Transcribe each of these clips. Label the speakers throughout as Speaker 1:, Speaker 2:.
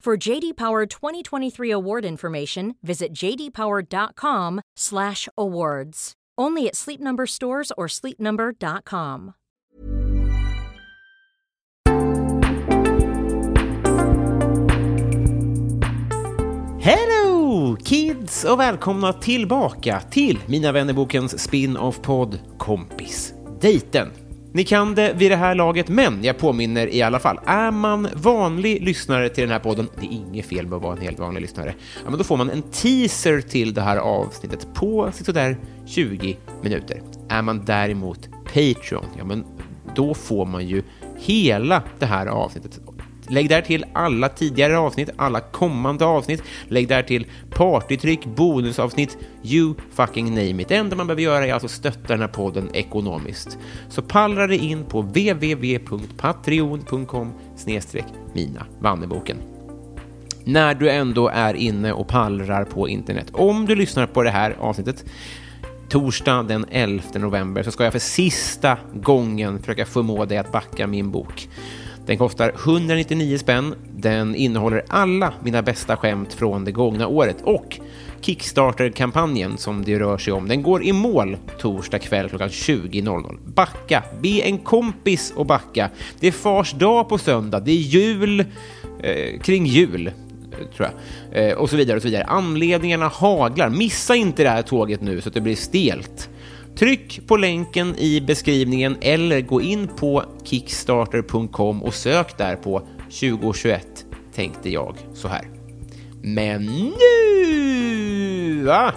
Speaker 1: For JD Power 2023 award information, visit jdpower.com/awards. Only at Sleep Number stores or sleepnumber.com.
Speaker 2: Hello kids och välkomna tillbaka till Mina vännerbokens spin-off-podd Kompis Dejten. Ni kan det vid det här laget, men jag påminner i alla fall. Är man vanlig lyssnare till den här podden, det är inget fel med att vara en helt vanlig lyssnare, ja, men då får man en teaser till det här avsnittet på sådär 20 minuter. Är man däremot Patreon, ja men då får man ju hela det här avsnittet. Lägg där till alla tidigare avsnitt, alla kommande avsnitt, lägg där till partytryck, bonusavsnitt, you fucking name it. Det enda man behöver göra är alltså stötta den här podden ekonomiskt. Så pallra dig in på www.patreon.com snedstreck mina Vanneboken när du ändå är inne och pallrar på internet. Om du lyssnar på det här avsnittet torsdag den 11 november så ska jag för sista gången försöka förmå dig att backa min bok. Den kostar 199 spänn, den innehåller alla mina bästa skämt från det gångna året och Kickstarter-kampanjen som det rör sig om, den går i mål torsdag kväll klockan 20.00. Backa! Be en kompis att backa. Det är fars dag på söndag, det är jul eh, kring jul tror jag. Eh, och så vidare och så vidare. Anledningarna haglar. Missa inte det här tåget nu så att det blir stelt. Tryck på länken i beskrivningen eller gå in på kickstarter.com och sök där på 2021 tänkte jag så här. Men nu! Va?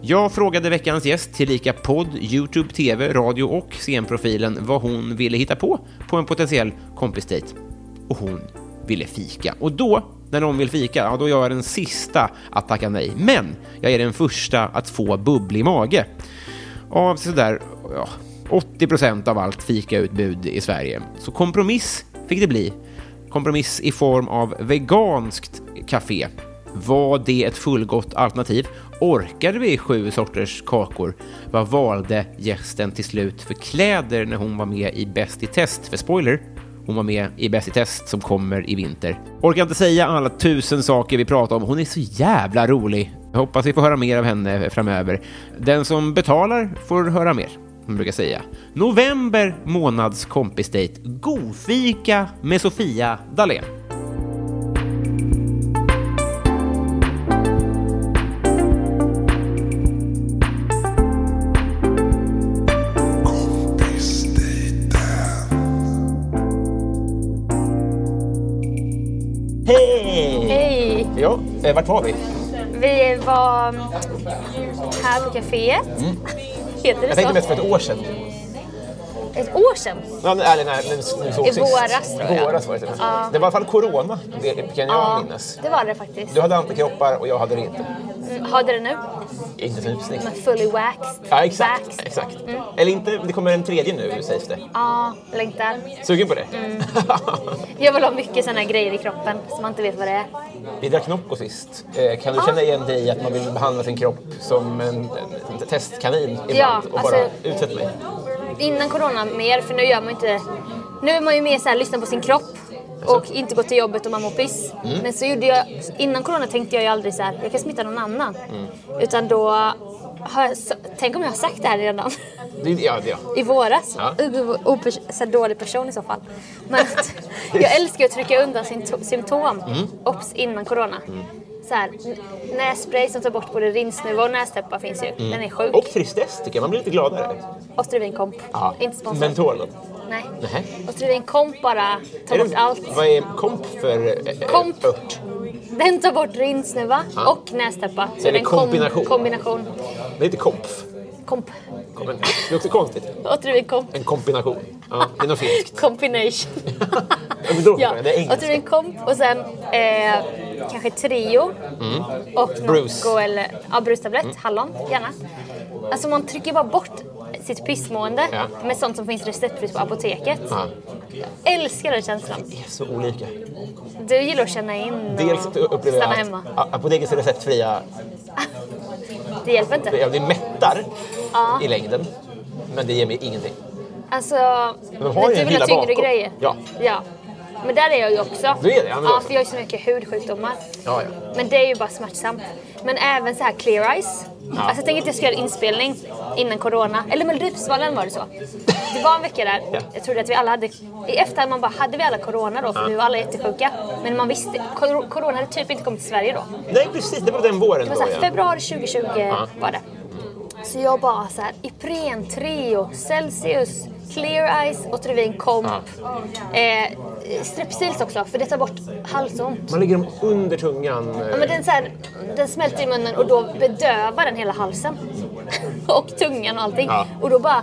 Speaker 2: Jag frågade veckans gäst, tillika podd, Youtube, TV, radio och scenprofilen vad hon ville hitta på på en potentiell kompisdejt och hon ville fika. Och då, när någon vill fika, ja, då är jag den sista att tacka nej. Men jag är den första att få bubblig mage. Av sådär ja, 80% av allt fikautbud i Sverige. Så kompromiss fick det bli. Kompromiss i form av veganskt café. Var det ett fullgott alternativ? Orkade vi sju sorters kakor? Vad valde gästen till slut för kläder när hon var med i Bäst i test? För spoiler, hon var med i Bäst i test som kommer i vinter. Orkar inte säga alla tusen saker vi pratar om. Hon är så jävla rolig. Jag hoppas vi får höra mer av henne framöver. Den som betalar får höra mer, som man brukar säga. November månads kompisdejt. Godfika med Sofia Dalén. Hej!
Speaker 3: Hej!
Speaker 2: Ja, eh, vart var vi?
Speaker 3: Vi var här på kaféet. Heter det
Speaker 2: Mm. Jag tänkte
Speaker 3: så?
Speaker 2: mest för ett år sedan.
Speaker 3: Ett år sedan.
Speaker 2: Ja, nej, eller när, när vi såg
Speaker 3: I
Speaker 2: sist.
Speaker 3: våras, tror jag.
Speaker 2: Våras var det till och med. Det var i alla fall corona, det kan jag minnas.
Speaker 3: det var det faktiskt.
Speaker 2: Du hade antikroppar och jag hade det inte.
Speaker 3: Mm, Har du det nu?
Speaker 2: Inte rusning.
Speaker 3: Men fully waxed.
Speaker 2: Ja, exakt.
Speaker 3: Waxed.
Speaker 2: exakt. Eller inte, det kommer en tredje nu sägs det.
Speaker 3: Ja, längtar.
Speaker 2: Sugen på det?
Speaker 3: Mm. Jag vill ha mycket såna här grejer i kroppen som man inte vet vad det är.
Speaker 2: Vi drack Nocco sist. Eh, kan du
Speaker 3: Ah.
Speaker 2: känna igen dig i att man vill behandla sin kropp som en, en, en testkanin ibland
Speaker 3: Ja,
Speaker 2: och
Speaker 3: alltså-
Speaker 2: bara utsätt mig?
Speaker 3: Innan corona mer, för nu gör man ju inte... Nu är man ju mer så här, lyssna på sin kropp och inte gå till jobbet om man mår piss.
Speaker 2: Mm.
Speaker 3: Men så gjorde jag... Innan corona tänkte jag ju aldrig så här, jag kan smitta någon annan.
Speaker 2: Mm.
Speaker 3: Utan då... Har jag, så, tänk om jag har sagt det här redan?
Speaker 2: Det, ja, det, ja.
Speaker 3: I våras?
Speaker 2: Ja.
Speaker 3: Ugh, opers- så dålig person i så fall.
Speaker 2: Mm.
Speaker 3: Men att jag älskar att trycka undan syn- symptom. Ops, innan corona. så här, n- nässpray som tar bort både rinsnivå och nästäppa finns ju.
Speaker 2: Mm.
Speaker 3: Den är sjuk.
Speaker 2: Och tristess tycker jag, man blir lite gladare.
Speaker 3: Ostervin komp.
Speaker 2: Ja.
Speaker 3: Inte sponsrad.
Speaker 2: Mentolen.
Speaker 3: Nej.
Speaker 2: Nähä.
Speaker 3: Ostervin komp bara tar
Speaker 2: Är
Speaker 3: bort
Speaker 2: det-
Speaker 3: allt.
Speaker 2: Vad är komp för eh, eh,
Speaker 3: Komp.
Speaker 2: ört?
Speaker 3: Den tar bort rinsnäva
Speaker 2: Ja.
Speaker 3: och nästäppa. Så
Speaker 2: det är
Speaker 3: en kom-
Speaker 2: kombination.
Speaker 3: kombination.
Speaker 2: Det heter kompf.
Speaker 3: Komp.
Speaker 2: Kom- Det är också konstigt.
Speaker 3: Återvin komp.
Speaker 2: En kombination. Ja, det är något finskt.
Speaker 3: Combination.
Speaker 2: Ja, men då- Det är
Speaker 3: Återvin
Speaker 2: engelska.
Speaker 3: komp och sen eh, kanske Trio. Och
Speaker 2: Mm. Bruce. Mm.
Speaker 3: Nocco eller ja, brustablett, hallon gärna. Alltså man trycker bara bort sitt pissmående
Speaker 2: Ja.
Speaker 3: med sånt som finns receptfritt på apoteket.
Speaker 2: Ja,
Speaker 3: Älskar den känslan.
Speaker 2: det är så olika.
Speaker 3: Du gillar att känna in
Speaker 2: Dels
Speaker 3: och
Speaker 2: upplever
Speaker 3: Mm. stanna
Speaker 2: jag
Speaker 3: hemma.
Speaker 2: att a- apotekets receptfria,
Speaker 3: Det hjälper inte.
Speaker 2: ja, det mättar i längden. Men det ger mig ingenting.
Speaker 3: Alltså,
Speaker 2: de har ju
Speaker 3: du
Speaker 2: en
Speaker 3: vill
Speaker 2: hylla
Speaker 3: ha tyngre
Speaker 2: bakom.
Speaker 3: grejer.
Speaker 2: Ja.
Speaker 3: ja. Men där är jag ju också.
Speaker 2: Du är det, ja, men då
Speaker 3: ja,
Speaker 2: så.
Speaker 3: för jag har ju så mycket hudsjukdomar.
Speaker 2: Ja, ja.
Speaker 3: Men det är ju bara smärtsamt. Men även så här clear eyes. Alltså jag tänker att jag ska göra en inspelning innan corona. Eller Melodifestivalen var det så. Det var en vecka där.
Speaker 2: Ja.
Speaker 3: Jag trodde att vi alla hade... I efterhand man bara, hade vi alla corona då? För vi var alla jättesjuka. Men man visste... cor- Corona hade typ inte kommit till Sverige då.
Speaker 2: Nej, precis. Det var den våren
Speaker 3: Det var
Speaker 2: då.
Speaker 3: så här,
Speaker 2: ja.
Speaker 3: februari 2020 var det. Så jag bara så här, Ipren Trio, Celsius, Clear Eyes, Otrivin Comp. Eh, Strepsils också, för det tar bort halsont.
Speaker 2: Man lägger dem under tungan. eh,
Speaker 3: Ja, men den, så här, den smälter i munnen och då bedövar den hela halsen. och tungan och allting.
Speaker 2: Ja.
Speaker 3: Och då bara,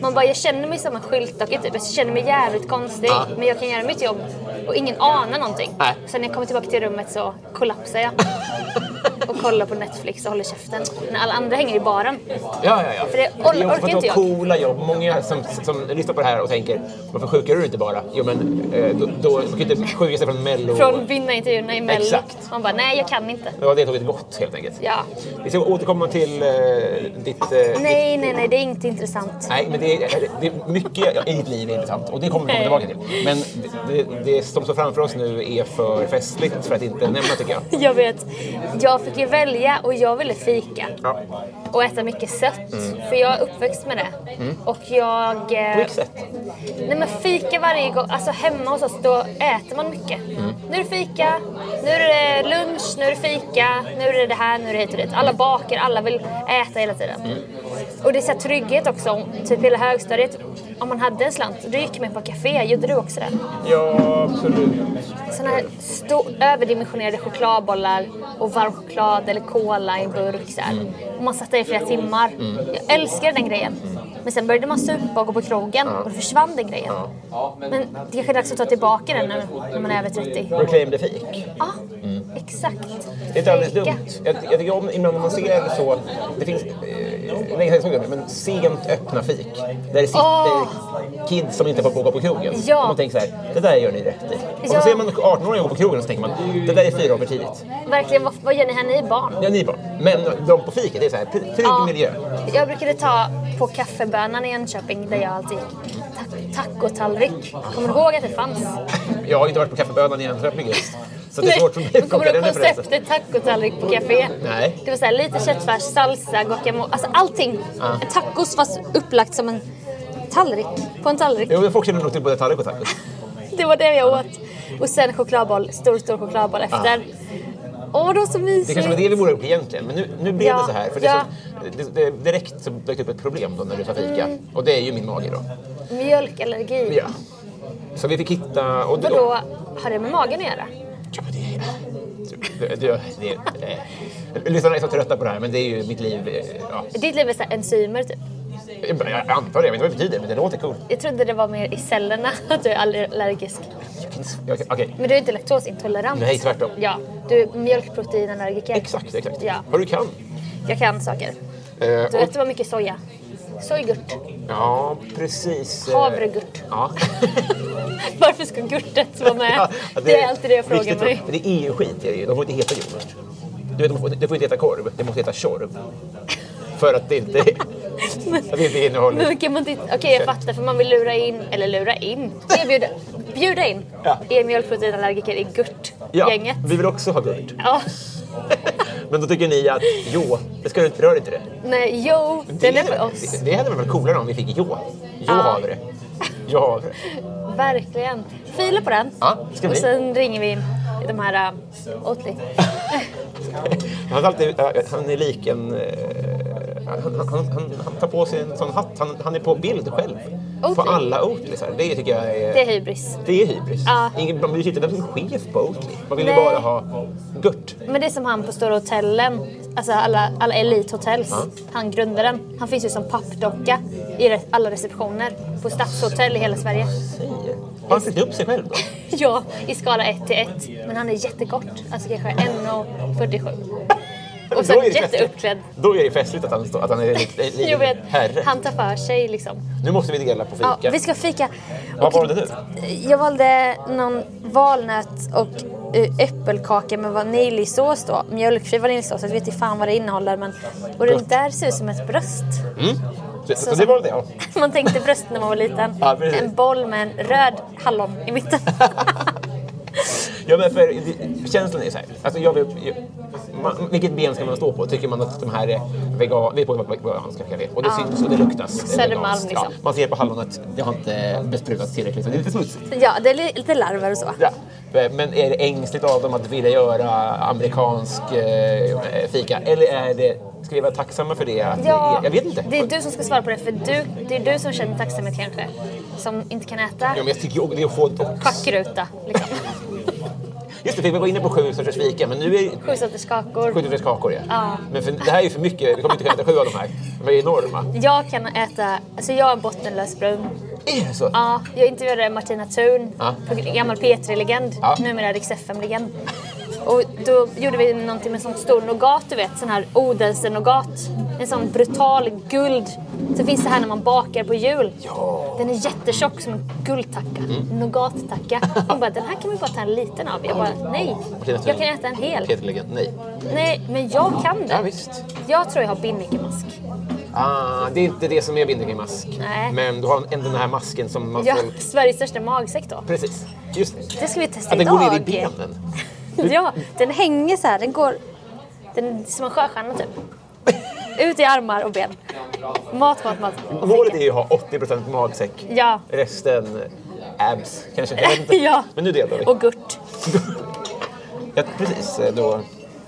Speaker 3: man bara, jag känner mig som en skyltdocka typ. Jag känner mig jävligt konstig,
Speaker 2: Ja.
Speaker 3: men jag kan göra mitt jobb. Och ingen anar någonting.
Speaker 2: Nej.
Speaker 3: Sen när jag kommer tillbaka till rummet så kollapsar jag. och kollar på Netflix och håller käften. När alla andra hänger i baren.
Speaker 2: Ja, ja, ja.
Speaker 3: För det or- orkar
Speaker 2: för att
Speaker 3: inte
Speaker 2: de
Speaker 3: jag.
Speaker 2: coola jobb. Många som, som lyssnar på det här och tänker varför sjukar du inte bara? Jo, men eh, då, då man kan ju inte sjuka sig från Mello.
Speaker 3: Från vinnarintervjuerna i Mello.
Speaker 2: Exakt.
Speaker 3: Man bara, nej jag kan inte.
Speaker 2: Det var deltaget gott helt enkelt.
Speaker 3: Ja.
Speaker 2: Vi ska återkomma till eh, ditt... eh, ditt-
Speaker 3: Nej, nej, nej, det är inte intressant.
Speaker 2: Nej, men det är, det är mycket i ditt liv är intressant och det kommer vi komma tillbaka till. Men det, det, det som står framför oss nu är för festligt för att inte nämna tycker jag.
Speaker 3: Jag vet. Jag fick ju välja och jag ville fika.
Speaker 2: Ja.
Speaker 3: och äta mycket sött. För jag är uppväxt med det. Och jag... eh,
Speaker 2: Mm. På vilket sätt?
Speaker 3: Nej men fika varje gång. Alltså hemma hos oss då äter man mycket.
Speaker 2: Mm.
Speaker 3: Nu är det fika, nu är det lunch, nu är det fika, nu är det det här, nu är det hit och dit. Alla bakar, alla vill äta hela tiden.
Speaker 2: Mm.
Speaker 3: Och det är så här trygghet också. Typ hela högstadiet. Om man hade en slant, då gick man på café. Gjorde du också det?
Speaker 2: Ja, absolut.
Speaker 3: Såna här stor, överdimensionerade chokladbollar och varm choklad eller cola i en burk. Så här. Och man satt där i flera timmar.
Speaker 2: Mm.
Speaker 3: Jag älskar den grejen. Men sen började man supa och gå på krogen och då försvann den grejen. Men det kanske är dags att ta tillbaka den nu när man är över 30. Ja,
Speaker 2: Reclaim the fake.
Speaker 3: exakt.
Speaker 2: Mm. Det är inte alldeles
Speaker 3: Fika.
Speaker 2: dumt. Jag, jag tycker om ibland när man ser så, det finns, eh, länge sedan jag såg det, men sent öppna fik. Där det sitter
Speaker 3: Åh!
Speaker 2: kids som inte får gå på krogen.
Speaker 3: Ja.
Speaker 2: Och man tänker så här, det där gör ni rätt i. Och
Speaker 3: Ja.
Speaker 2: så ser man 18-åringar gå på krogen och så tänker man, det där är fyra år för tidigt.
Speaker 3: Verkligen, vad, vad gör ni här? Ni är barn.
Speaker 2: Ja, ni bara. Men de på fiket, det är så här, trygg
Speaker 3: Ja.
Speaker 2: miljö.
Speaker 3: Jag brukade ta på kaffebönan i Jönköping där jag alltid gick. Ta- Tacotallrik. Kommer du ihåg att det fanns?
Speaker 2: Jag har inte varit på kaffebönan i Jönköping just. Så det är
Speaker 3: Nej,
Speaker 2: svårt för mig
Speaker 3: men
Speaker 2: att
Speaker 3: Kommer
Speaker 2: plocka
Speaker 3: du
Speaker 2: den
Speaker 3: ihåg
Speaker 2: referensen.
Speaker 3: konceptet tacotallrik på café?
Speaker 2: Nej.
Speaker 3: Det var så här, lite köttfärs, salsa, guacamole, alltså allting. En tacos fast upplagt som en tallrik på en tallrik.
Speaker 2: Jo, men folk känner nog till både tallrik och tacos.
Speaker 3: Det var det jag åt. Och sen chokladboll, stor stor chokladboll efter. Åh, det var så mysigt.
Speaker 2: Det kanske var det vi borde ha gjort egentligen, men nu, nu blev
Speaker 3: Ja,
Speaker 2: det så här. För det är
Speaker 3: ja. Mm.
Speaker 2: så, det, det, direkt så dök det upp ett problem då när du sa fika. Och det är ju min mage då.
Speaker 3: Mjölkallergi.
Speaker 2: Ja. Så vi fick hitta... Och
Speaker 3: Och då har det med magen att göra?
Speaker 2: Ja, det, det, det, det, eh, lyssnarna är så trötta på det här, men det är ju mitt liv. eh, Ja,
Speaker 3: Ditt liv är så här enzymer typ.
Speaker 2: jag jag antar det, jag vet inte vad det betyder, men det låter coolt.
Speaker 3: Jag trodde det var mer i cellerna att du är allergisk.
Speaker 2: Jag kan- jag kan- Okej,
Speaker 3: Men du är inte laktosintolerant.
Speaker 2: Nej, tvärtom.
Speaker 3: Ja, du är mjölkproteinallergiker.
Speaker 2: exakt, exakt.
Speaker 3: Ja.
Speaker 2: Vad du kan.
Speaker 3: Jag kan saker.
Speaker 2: Eh,
Speaker 3: Du
Speaker 2: och-
Speaker 3: äter bara mycket soja. Sojgurt.
Speaker 2: Ja, precis. eh,
Speaker 3: Havregurt.
Speaker 2: Ja.
Speaker 3: Varför ska gurtet vara med?
Speaker 2: Ja,
Speaker 3: det, är alltid det jag frågar
Speaker 2: riktigt
Speaker 3: mig.
Speaker 2: bra. Det är EU-skit, är det ju. de får inte heta yoghurt. Du vet, de får, det får inte heta korv, det måste heta tjorv. För att det inte, att det inte innehåller...
Speaker 3: Men kan man inte... Okej, jag fattar. För man vill lura in... Eller lura in? Erbjuda, bjuda in
Speaker 2: Ja.
Speaker 3: er mjölkproteinallergiker i gurt-gänget.
Speaker 2: vi vill också ha gurt.
Speaker 3: Ja.
Speaker 2: Men då tycker ni att jo, det ska du inte, rör inte det.
Speaker 3: Nej, jo, den är för oss.
Speaker 2: det, det hade varit coolare om vi fick jo. Jo
Speaker 3: Ja.
Speaker 2: har vi det. Jo har vi det.
Speaker 3: Verkligen. Fila på den.
Speaker 2: Ja, ska vi?
Speaker 3: Och sen ringer vi de här... äh, Oatly.
Speaker 2: Han, är alltid, eh, han är lik en... eh, Han, han, han, han tar på sig en sån hatt. Han, han är på bild själv. På
Speaker 3: Oatly.
Speaker 2: alla Oatleysar. Det tycker jag är...
Speaker 3: Det är hybris.
Speaker 2: Det är hybris.
Speaker 3: Ja.
Speaker 2: Ingen, man blir sittande som chef på Oatly. Man vill ju
Speaker 3: Nej.
Speaker 2: bara ha gört.
Speaker 3: Men det är som han på Stora Hotellen, alltså alla, alla Elite Hotels, han grundaren. Han finns ju som pappdocka i re- alla receptioner på stadshotell i hela Sverige.
Speaker 2: Säger. Har han fyllt upp sig själv då?
Speaker 3: Ja, i skala 1 till 1. Men han är jättekort, alltså kanske 1,47. Och sen
Speaker 2: Då är det festligt.
Speaker 3: jätteuppklädd.
Speaker 2: Då är det festligt att han, står- att han är lik lik
Speaker 3: Jag vet,
Speaker 2: herre.
Speaker 3: han tar för sig liksom.
Speaker 2: Nu måste vi dela på fika.
Speaker 3: Ja, vi ska fika.
Speaker 2: Vad
Speaker 3: Och
Speaker 2: valde du?
Speaker 3: Jag valde någon valnöt och eh, äppelkaka med vaniljsås då. Mjölkfri vaniljsås. Jag vet inte fan vad det innehåller men... Och den där ser ut som ett bröst.
Speaker 2: Så, så det var det ja.
Speaker 3: Man tänkte bröst när man var liten.
Speaker 2: Ja, precis.
Speaker 3: en boll med en röd hallon i mitten.
Speaker 2: ja men för, det- känslan är så här. Alltså jag vill, jag, man, vilket ben ska man stå på? Tycker man att de här är vegan, vi är på ett veganska café och det syns och det luktas.
Speaker 3: Södermalm,
Speaker 2: veganskt.
Speaker 3: liksom.
Speaker 2: man ser på hallonet, det har inte besprutats tillräckligt så det är lite smutsigt.
Speaker 3: ja, det är li- lite larver och så.
Speaker 2: Ja. Eh, Men är det ängsligt av dem att vilja göra amerikansk eh, fika? Eller är det, ska vi vara tacksamma för det? Att det är, jag vet inte.
Speaker 3: Det är du som ska svara på det för du, det är du som känner tacksamhet kanske. Som inte kan äta
Speaker 2: Ja, men jag tycker ju det är att få... Och,
Speaker 3: packruta. Liksom.
Speaker 2: just det, fick vi gå inne på sju sorters fika men nu är
Speaker 3: Sju sorters kakor.
Speaker 2: 73 kakor ja.
Speaker 3: Ja.
Speaker 2: Men för, det här är ju för mycket, vi kommer inte kunna äta sju av de här. De är enorma.
Speaker 3: Jag kan äta, alltså jag är bottenlös brun.
Speaker 2: Är det så?
Speaker 3: Ja, jag intervjuade Martina Thun,
Speaker 2: Ja.
Speaker 3: på gammal P3-legend,
Speaker 2: Ja.
Speaker 3: numera Rix FM-legend. Och då gjorde vi någonting med en sån stor nougat, du vet, sån här Odense-nougat. En sån brutal guld. Så finns det här när man bakar på jul. Den är jättetjock som en guldtacka,
Speaker 2: Mm.
Speaker 3: nougat-tacka. Hon bara, den här kan vi bara ta en liten av. Jag bara, nej,
Speaker 2: Martina Thun.
Speaker 3: jag kan äta en hel.
Speaker 2: Peter Legend, nej.
Speaker 3: Nej, men jag kan
Speaker 2: Ja,
Speaker 3: det.
Speaker 2: visst.
Speaker 3: Jag tror jag har binnikemask.
Speaker 2: Ah, det är inte det som är vindekingmask.
Speaker 3: Nej.
Speaker 2: Men du har en, den här masken som man
Speaker 3: Jag
Speaker 2: får...
Speaker 3: Sveriges största magsäck då.
Speaker 2: Precis. Just det.
Speaker 3: Det ska vi testa
Speaker 2: Att den
Speaker 3: idag.
Speaker 2: går ner i benen.
Speaker 3: Ja, den hänger så här. Den går... Den är som en sjöstjärna typ. Ut i armar och ben. Mat, mat, mat. Och
Speaker 2: Målet är
Speaker 3: fika.
Speaker 2: ju att ha 80 magsäck.
Speaker 3: Ja.
Speaker 2: Resten abs, kanske. Jag vet inte.
Speaker 3: Ja.
Speaker 2: Men nu delar vi.
Speaker 3: Och gurt.
Speaker 2: Ja, precis. eh, Då.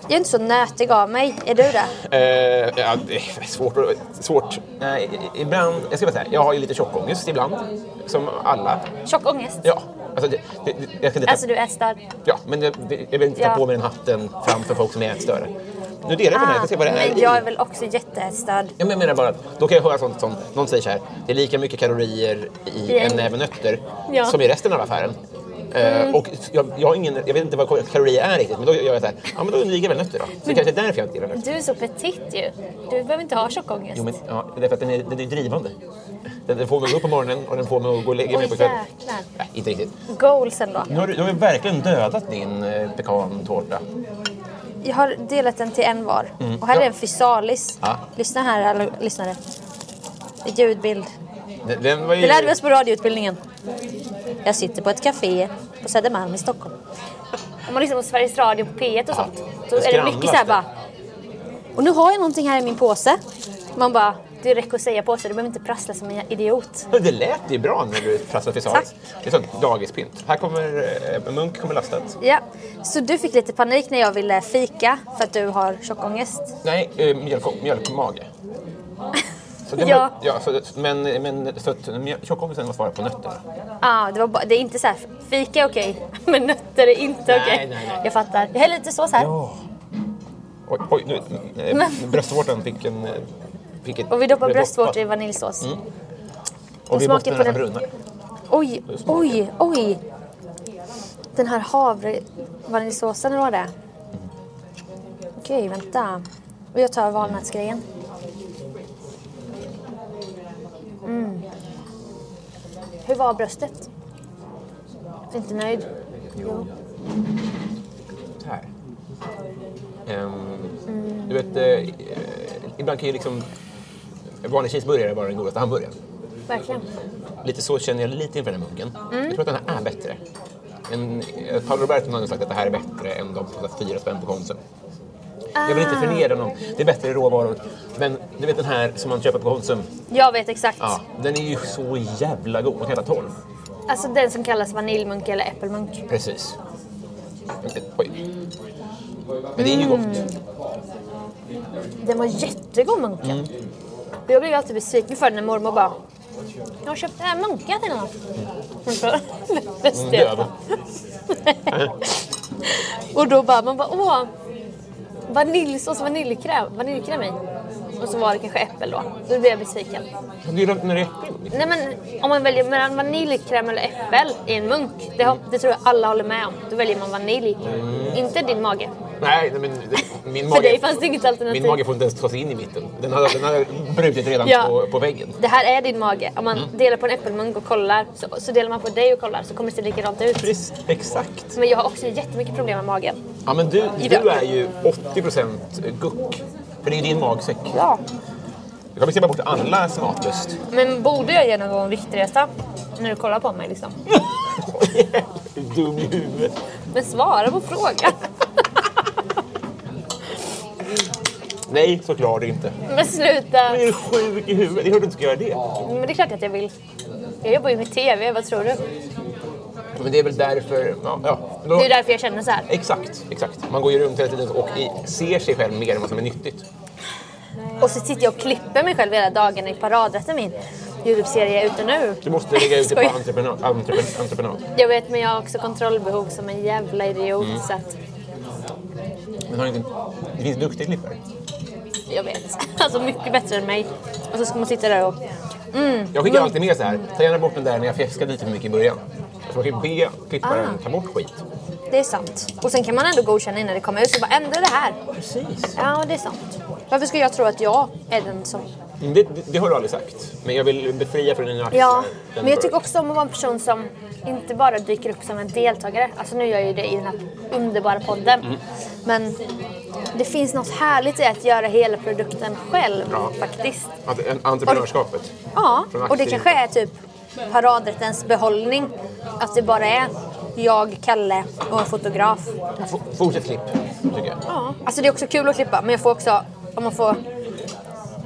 Speaker 3: Jag är inte så nötig av mig. Är du det?
Speaker 2: Eh, ja, det är svårt. att- svårt. Nej, i- ibland, jag ska bara säga, jag har ju lite tjockångest ibland. Som alla.
Speaker 3: Tjock ångest.
Speaker 2: Ja. Alltså, det, det, det, jag ska inte ta,
Speaker 3: Alltså du är störd.
Speaker 2: ja, men jag, det- jag vill inte ta
Speaker 3: Ja.
Speaker 2: på mig den hatten framför folk som är ätstörda. Nu delar jag på den här, jag ska se vad det är
Speaker 3: Ah, men
Speaker 2: i.
Speaker 3: jag är väl också jätteätstörd.
Speaker 2: Ja, men jag menar bara att då kan jag höra sånt som någon säger så här. Det är lika mycket kalorier i
Speaker 3: I
Speaker 2: en
Speaker 3: en-
Speaker 2: näve nötter
Speaker 3: Ja. Mm.
Speaker 2: som i resten av affären. Eh, och jag, jag, har ingen, jag vet inte vad kalorier är riktigt, men då gör jag så här. Ja, men då undviker jag väl nötter då. Så kanske det är därför jag inte gillar nötter.
Speaker 3: Du är så petit ju. Du behöver inte ha tjock ångest.
Speaker 2: Jo, men ja, det är för att den är, den är drivande. Den, den får mig att gå upp på morgonen och den får mig att gå och lägga
Speaker 3: Åh
Speaker 2: mig på kvällen.
Speaker 3: jäklar.
Speaker 2: Nej, inte riktigt.
Speaker 3: Goalsen då.
Speaker 2: Nu har du, du har ju verkligen dödat din eh, pekantårta.
Speaker 3: Jag har delat den till en var. Och här är en fysalis.
Speaker 2: Mm. Ja.
Speaker 3: Lyssna här alla lyssnare. Ljudbild.
Speaker 2: Den, den var ju...
Speaker 3: Det lärde vi oss på radioutbildningen. Jag sitter på ett café på Södermalm i Stockholm. Om man lyssnar på Sveriges Radio på P1 och sånt, så är det
Speaker 2: skramlas
Speaker 3: mycket så här
Speaker 2: det.
Speaker 3: bara... Och nu har jag någonting här i min påse. Man bara, det räcker att säga påse, du behöver inte prassla som en idiot.
Speaker 2: Ja, Det lät ju bra när du prassade fysalis.
Speaker 3: Tack.
Speaker 2: Det är sånt dagispynt. Här kommer... Eh, munk kommer lastat.
Speaker 3: Ja, så du fick lite panik när jag ville fika för att du har tjockångest.
Speaker 2: Nej, eh, mjölk, mjölkmage. Så det
Speaker 3: Ja.
Speaker 2: Var, ja så, men men så att mjölk- tjockångesten var svaret på nötterna.
Speaker 3: Ja, det, var bara- det är inte så här, fika är okej, men nötter är inte
Speaker 2: Nej,
Speaker 3: okej.
Speaker 2: nej, nej.
Speaker 3: Jag fattar. Jag häller lite sås här.
Speaker 2: Oj, oj nu, eh, bröstvårtan fick en... eh, Fick ett,
Speaker 3: Och vi doppar
Speaker 2: blev
Speaker 3: bröstvårtor
Speaker 2: doppad.
Speaker 3: i vaniljsås.
Speaker 2: Och vi
Speaker 3: smakar
Speaker 2: måste
Speaker 3: på
Speaker 2: nästan
Speaker 3: den.
Speaker 2: brunna.
Speaker 3: Oj,
Speaker 2: Det smakar.
Speaker 3: oj, oj. Den här havre vaniljsåsen, eller vad det är. Okej, vänta. Och jag tar valnötsgrejen. Mm. Mm. Hur var bröstet? Inte nöjd? Jo.
Speaker 2: Så här. Ehm, Du vet, eh, eh, ibland kan ju liksom en vanlig cheeseburgare vara den godaste hamburgaren.
Speaker 3: Verkligen.
Speaker 2: Lite så känner jag lite inför den här munken. Jag tror att den här är bättre. En, eh, Paolo Roberto har nog sagt att det här är bättre än de som kostar fyra spänn på Konsum. Jag
Speaker 3: Ah.
Speaker 2: vill inte förnedra någon. Det är bättre råvaror. Men du vet den här som man köper på Konsum.
Speaker 3: Jag vet exakt.
Speaker 2: Ja, den är ju så jävla god. Man kan äta tolv.
Speaker 3: Alltså den som kallas vaniljmunk eller äppelmunk.
Speaker 2: Precis. Oj. Men det är ju
Speaker 3: Mm.
Speaker 2: gott.
Speaker 3: Den var jättegod munken. Jag blev alltid besviken för när mormor bara jag har köpt här munkar till honom.
Speaker 2: död.
Speaker 3: och då bara, man bara åh. Vaniljsås, vaniljkräm, vaniljkräm i. Och så var det kanske äppel då. Då blev jag besviken.
Speaker 2: Du gillar inte när det är äppel?
Speaker 3: Nej men om man väljer mellan vaniljkräm eller äppel i en munk. Det, har- det tror jag alla håller med om. Då väljer man vanilj. Inte din mage.
Speaker 2: Nej, nej, men det- min
Speaker 3: För dig
Speaker 2: mage,
Speaker 3: fanns det inget alternativ.
Speaker 2: min mage får inte ens ta sig in i mitten. Den har, den har brutit redan
Speaker 3: Ja.
Speaker 2: på, på väggen.
Speaker 3: Det här är din mage. Om man delar på en äppelmunk och kollar så, så delar man på dig och kollar så kommer det se likadant ut.
Speaker 2: Precis, exakt.
Speaker 3: Men jag har också jättemycket problem med magen.
Speaker 2: Ja, men du,
Speaker 3: I
Speaker 2: du
Speaker 3: röken.
Speaker 2: är ju 80% guck. För det är ju din magsäck.
Speaker 3: Ja.
Speaker 2: Du kommer släppa bort alla smaklöst.
Speaker 3: Men borde jag genomgå en viktresa? När du kollar på mig liksom.
Speaker 2: Dum i huvudet.
Speaker 3: Men svara på frågan.
Speaker 2: Nej, såklart inte.
Speaker 3: Men sluta.
Speaker 2: Men är du sjuk i huvudet? Det är klart du inte ska göra det.
Speaker 3: Men det är klart att jag vill. Jag jobbar ju med TV, vad tror du?
Speaker 2: Men det är väl därför... Ja, ja. Då-
Speaker 3: Det är därför jag känner så här.
Speaker 2: Exakt, exakt. Man går ju runt hela tiden och i, ser sig själv mer än vad som är nyttigt.
Speaker 3: Och så sitter jag och klipper mig själv hela dagarna i paradrätten min. Youtube-serie är ute nu.
Speaker 2: Du måste lägga ut det på
Speaker 3: Skoja.
Speaker 2: entreprenad. Entrepren, entreprenad.
Speaker 3: Jag vet, men jag har också kontrollbehov som en jävla idiot.
Speaker 2: Mm.
Speaker 3: Så att
Speaker 2: Men har inte, det finns duktiga klippare.
Speaker 3: jag vet. Alltså mycket bättre än mig. Och så ska man sitta där och...
Speaker 2: Jag skickar alltid med så här. Ta gärna bort den där när jag fjäskade lite för mycket i början. Så man kan ju be klipparen
Speaker 3: Ah.
Speaker 2: ta bort skit.
Speaker 3: Det är sant. Och sen kan man ändå godkänna innan det kommer ut. Så bara ändra det här.
Speaker 2: Precis.
Speaker 3: Ja, det är sant. Varför ska jag tro att jag är den som...
Speaker 2: Det, det, det har du aldrig sagt. Men jag vill befria från dina axlar.
Speaker 3: Ja,
Speaker 2: den
Speaker 3: men jag
Speaker 2: bör-
Speaker 3: tycker också om att vara en person som inte bara dyker upp som en deltagare. Alltså nu gör jag ju det i den här underbara podden. Men det finns något härligt i att göra hela produkten själv
Speaker 2: Ja.
Speaker 3: faktiskt.
Speaker 2: Att, en, entreprenörskapet.
Speaker 3: Ja,
Speaker 2: Från
Speaker 3: och det
Speaker 2: aktier.
Speaker 3: kanske är typ paradrättens behållning. Att det bara är jag, Kalle och en fotograf.
Speaker 2: F- fortsätt klipp, tycker jag.
Speaker 3: Ja. Alltså det är också kul att klippa men jag får också, om man får,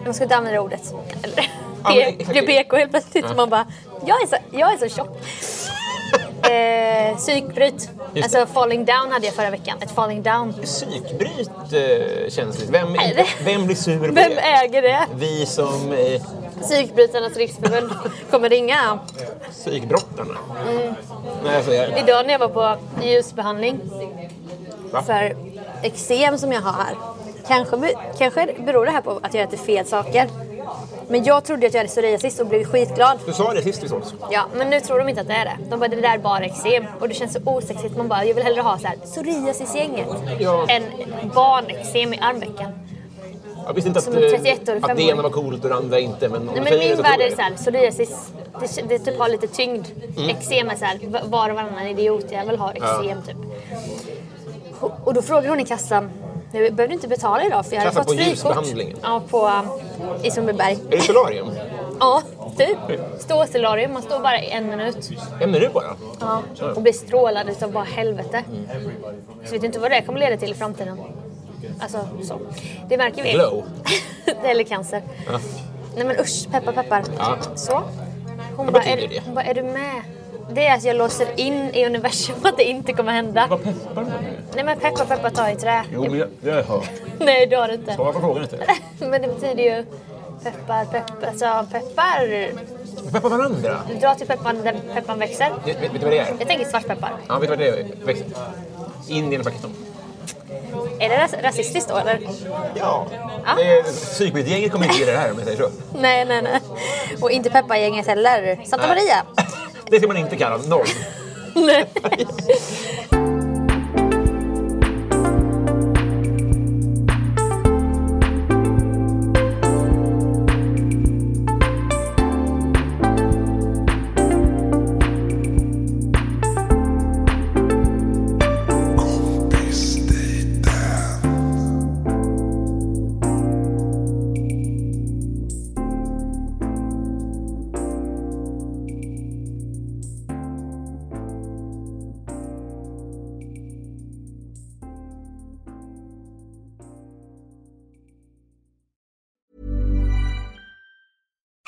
Speaker 3: man ska inte använda det ordet. Eller,
Speaker 2: men
Speaker 3: det
Speaker 2: exakt.
Speaker 3: blir PK helt plötsligt. Man bara, jag är så, jag är så tjock. eh, psykbryt.
Speaker 2: det.
Speaker 3: Alltså falling down hade jag förra veckan. Ett falling down.
Speaker 2: Psykbryt eh, känns lite... Vem,
Speaker 3: Nej, det-
Speaker 2: vem blir sur på
Speaker 3: Vem
Speaker 2: det?
Speaker 3: äger det?
Speaker 2: Vi som eh,
Speaker 3: Psykbrytarnas riksförbund kommer ringa.
Speaker 2: psykbrottarna.
Speaker 3: Mm.
Speaker 2: Nej, alltså, jag,
Speaker 3: Idag när jag var på ljusbehandling
Speaker 2: Va?
Speaker 3: för eksem som jag har här. Kanske, be- kanske beror det här på att jag äter fel saker. Men jag trodde att jag hade psoriasis och blev skitglad.
Speaker 2: du sa det sist vi sågs.
Speaker 3: Ja, men nu tror de inte att det är det. De bara, det där är bara eksem. Och det känns så osexigt. Man bara, jag vill hellre ha så här psoriasis-gänget
Speaker 2: Ja.
Speaker 3: än barnexem i armvecken.
Speaker 2: Jag visste inte att,
Speaker 3: Som en 31 år,
Speaker 2: eh, att det
Speaker 3: fem år.
Speaker 2: ena var coolt och det andra inte. Men om
Speaker 3: Nej,
Speaker 2: du
Speaker 3: men i
Speaker 2: säger det
Speaker 3: min
Speaker 2: så
Speaker 3: värld
Speaker 2: tror
Speaker 3: är
Speaker 2: jag
Speaker 3: det så här, psoriasis, det, det typ har lite tyngd.
Speaker 2: Mm.
Speaker 3: Eksem är så här, va- var och varannan idiotjävel har eksem typ. Och- Och då frågar hon i kassan, jag behövde inte betala idag för jag hade
Speaker 2: Kassan
Speaker 3: fått
Speaker 2: på
Speaker 3: frikort.
Speaker 2: ljusbehandlingen?
Speaker 3: Ja, på, um, i Sundbyberg.
Speaker 2: Är det solarium?
Speaker 3: Ja, typ. Ståsolarium, man står bara i en minut.
Speaker 2: En minut bara?
Speaker 3: Ja, och blir strålad utav bara helvete. Så vet inte vad det kommer leda till i framtiden. Alltså så. Det märker vi.
Speaker 2: Glow.
Speaker 3: Eller cancer.
Speaker 2: Ja.
Speaker 3: Nej men usch, peppar peppar.
Speaker 2: Ja.
Speaker 3: Så. Hon
Speaker 2: Vad
Speaker 3: bara,
Speaker 2: betyder
Speaker 3: är,
Speaker 2: det?
Speaker 3: hon bara, är du med? Det är att jag låser in i universum att det inte kommer hända.
Speaker 2: Vad peppar du på nu?
Speaker 3: Nej men peppar peppar ta i trä.
Speaker 2: men jag, jag hör.
Speaker 3: Nej det har du inte.
Speaker 2: Svara på frågan inte.
Speaker 3: men det betyder ju peppar peppar, alltså peppar.
Speaker 2: Vi peppar varandra.
Speaker 3: Du drar till pepparn där pepparn växer.
Speaker 2: Vet, vet du vad det är?
Speaker 3: Jag tänker svartpeppar.
Speaker 2: Ja, vet du vad det är? Växel. Indien och Pakistan.
Speaker 3: Är det ras- rasistiskt då eller?
Speaker 2: Ja.
Speaker 3: Ja.
Speaker 2: ja. Psykbrytgänget kommer inte gilla det här om jag säger så.
Speaker 3: Nej, nej, nej. Och inte Peppargänget heller. Santa
Speaker 2: Nej.
Speaker 3: Maria.
Speaker 2: Det ska man inte kalla norm.
Speaker 3: Nej.